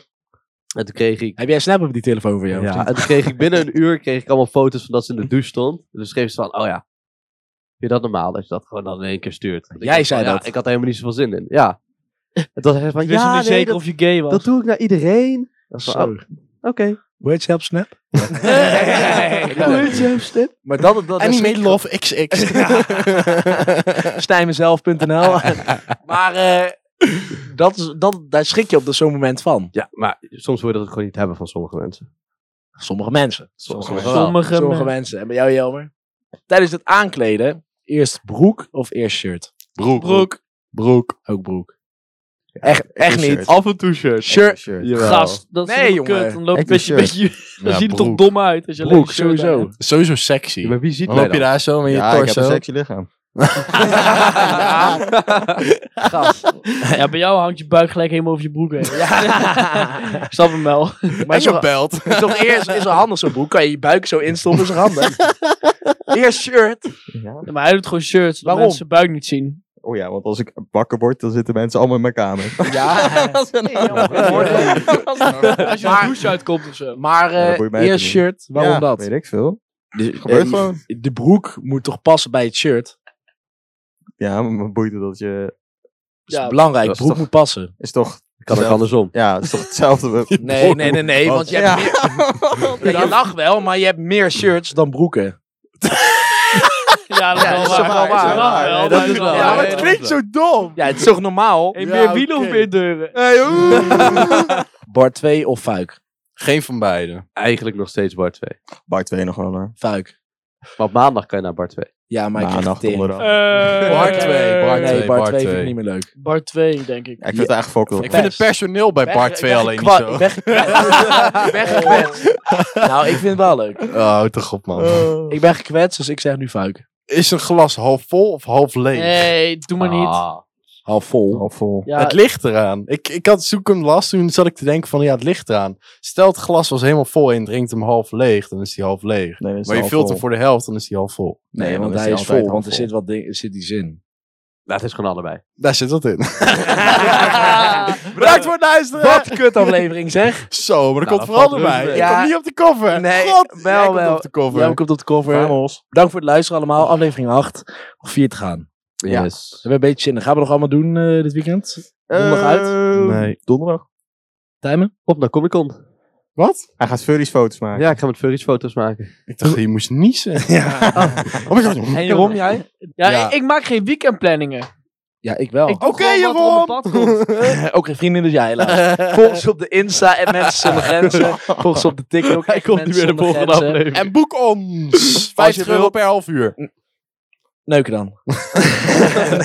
S5: En toen kreeg ik...
S1: Heb jij Snap op die telefoon van jou?
S5: Ja, en toen kreeg ik binnen een uur kreeg ik allemaal foto's van dat ze in de douche stond. En toen schreef ze van, oh ja, vind je dat normaal dat je dat gewoon dan in één keer stuurt? Want ik
S1: Jij
S5: dacht
S1: zei
S5: van, ja,
S1: dat.
S5: ik had er helemaal niet zoveel zin in, ja. En toen zei ze van,
S2: Ik wist
S5: ja,
S2: nog niet
S5: nee,
S2: zeker
S5: dat,
S2: of je gay was.
S5: dat doe ik naar iedereen. Dat is van, oh,
S1: Zo.
S5: oké.
S1: Hoe heet ze op Snap? Maar dat, dat
S4: En die
S1: is
S4: made love XX.
S1: Stijnmezelf.nl. maar eh, dat is, dat, daar schrik je op dat zo'n moment van.
S5: Ja, maar soms wil je dat ook gewoon niet hebben van sommige mensen.
S1: Sommige mensen.
S5: Sommige
S1: Sommige,
S5: mensen.
S2: Sommige
S1: Sommige
S2: men-
S1: mensen. En bij jou, Jelmer? Tijdens het aankleden, eerst broek of eerst shirt?
S4: Broek.
S2: Broek.
S4: Broek.
S1: Ook broek. echt echt
S4: shirt.
S1: niet.
S5: Af en toe shirt.
S1: Shirt.
S3: Shirt.
S5: Jawel.
S2: Gast. Dat is
S1: Nee,
S2: helemaal
S1: jongen.
S2: kut. Dan loopt het
S3: Ik
S2: een beetje...
S3: een
S2: beetje dan ziet het toch dom uit. Als je alleen
S1: Broek,
S2: een shirt aan
S1: sowieso.
S2: hebt.
S4: Sowieso sexy.
S5: Ja, maar wie ziet
S4: Dan
S5: mij
S4: loop je
S5: dan?
S4: daar zo met je
S3: Ja, ik heb
S4: torso.
S3: een sexy lichaam.
S1: Gast.
S2: Ja, bij jou hangt je buik gelijk helemaal over je broek heen.
S1: Ja.
S2: Snap hem wel.
S1: Maar
S4: en
S1: is
S4: je
S1: toch,
S4: belt.
S1: is toch eerst is wel handig zo'n broek? Kan je je buik zo instoppen is toch handig? eerst shirt.
S3: Ja.
S2: Ja, maar hij doet gewoon shirts. Waarom?
S1: Waarom?
S2: Mensen zijn buik niet zien.
S3: Oh ja, want als ik wakker word, dan zitten mensen allemaal in mijn kamer.
S1: Ja.
S2: Als je
S1: Maar-
S2: de douche uitkomt of zo.
S1: Maar eh,
S3: Ja, dat boeit mij
S1: eerst
S3: niet.
S1: shirt, waarom
S3: Ja,
S1: dat?
S3: Weet ik veel.
S1: De,
S3: Gebeurt
S1: eh,
S3: gewoon.
S1: de broek moet toch passen bij het shirt?
S3: Ja, maar me boeit het dat je...
S1: Dat is
S2: Ja,
S1: belangrijk,
S5: dat is
S1: broek
S5: toch-
S1: moet passen.
S3: Is toch...
S5: Kan ook andersom.
S3: Ja, het is toch hetzelfde.
S1: Nee, nee, nee, nee, want je, hebt meer, Ja, je lacht wel, maar je hebt meer shirts dan broeken.
S2: Ja, dat is
S1: Ja,
S2: wel
S1: dat is
S2: waar.
S1: toch wel waar.
S2: Dat is wel waar.
S5: Nee, dat is wel
S2: Ja,
S5: waar.
S2: maar-
S5: Nee, dat is
S4: zo dom.
S1: Ja, het is toch normaal?
S2: Hey,
S4: Ja,
S2: meer wielen
S4: oké.
S2: of meer deuren?
S1: Bar 2 of fuik?
S4: Geen van beiden.
S5: Eigenlijk nog steeds Bart 2.
S3: Bar 2 nog wel hoor.
S1: Fuik.
S5: Maar op maandag kan je naar Bart 2.
S1: Ja, maar ik krijg
S3: Maandag,
S1: het tering.
S3: donderdag.
S2: Eh,
S4: Bar twee, bar twee.
S1: Nee, bar
S4: bar
S1: 2 vind ik
S4: twee.
S1: niet meer leuk.
S2: Bar 2, denk ik.
S3: Ja, ik vind het eigenlijk fokkeld.
S4: Ik vind het personeel bij Bart 2 alleen niet zo.
S1: Ik ben gekwetst. Ik ben gekwetst. Nou, ik vind het wel leuk.
S4: Oh, toch op man.
S1: Ik ben gekwetst, dus ik zeg nu fuik.
S4: Is een glas half vol of half leeg?
S2: Nee, doe maar niet.
S5: Ah.
S1: Half vol.
S3: Al vol.
S2: Ja,
S4: Het ligt eraan. Ik, ik had zoek hem last, toen zat ik te denken van ja, het ligt eraan. Stel het glas was helemaal vol en je drinkt hem half leeg, dan is hij half leeg.
S3: Nee, dan is het
S4: Maar je
S3: al
S4: vult
S3: vol.
S4: hem voor de helft, dan is hij half vol.
S1: Nee, want
S3: dan
S1: hij is
S3: altijd
S1: vol,
S3: al
S1: want er
S3: vol.
S1: zit, wat ding, er zit iets in.
S5: Nou, het is gewoon allebei.
S4: Daar zit dat in.
S1: Bedankt voor het luisteren! Wat een kutaflevering zeg!
S4: Zo, maar dat
S5: Nou,
S4: komt
S5: dat
S4: vooral
S5: valt reuze
S4: erbij.
S5: mee.
S4: Ik
S1: Ja.
S4: kom niet op de cover.
S1: Nee,
S4: God,
S1: wel,
S4: jij komt
S1: wel.
S4: op de cover.
S1: Jij komt op de cover.
S3: Vamos.
S1: Dank voor het luisteren allemaal. Aflevering 8. Nog 4 te gaan. We
S4: Ja.
S5: Yes.
S1: hebben een beetje zin in. Gaan we nog allemaal doen eh, dit weekend? Donderdag uit?
S4: Nee.
S3: Eh, Donderdag.
S1: Timen?
S5: Op naar Comic Con.
S4: Wat?
S3: Hij gaat furries foto's maken.
S5: Ja, ik ga met Furries foto's maken.
S4: Ik dacht, je moest niezen. Ja. Oh my god.
S5: En Jeroen, jij?
S2: ja,
S4: Ja.
S2: Ik, ik maak geen weekendplanningen.
S1: Ja, ik wel.
S2: Ik doe
S4: Oké,
S2: gewoon wat er op
S4: Jeroen.
S2: mijn pad komt.
S1: Ook geen vrienden dus jij helaas. Volg ons op de Insta en mensen zonder grenzen. Volg ons op de TikTok.
S5: Hij
S1: at
S5: komt niet meer
S1: Mensen
S5: de
S1: Zonder
S5: volgende
S1: Grenzen.
S5: aflevering.
S4: En boek ons. 50 euro
S1: wilt.
S4: per half uur.
S1: Neuken dan.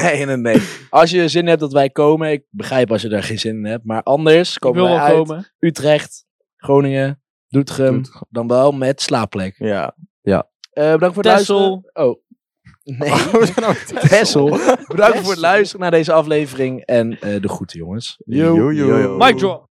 S1: nee, nee, nee. Als je zin hebt dat wij komen, ik begrijp als je daar geen zin in hebt. Maar anders
S2: Ik
S1: komen
S2: wil
S1: wij
S2: wel
S1: uit
S2: komen.
S1: Utrecht, Groningen, Doetinchem. Dan wel met slaapplek.
S3: Ja.
S1: Eh, bedankt voor het
S2: Texel.
S1: luisteren. Oh. Nee,
S3: We zijn nou-
S1: Tessel. Bedankt voor het luisteren naar deze aflevering. En eh, de groeten, jongens.
S3: Yo, yo, yo.
S2: Mic drop.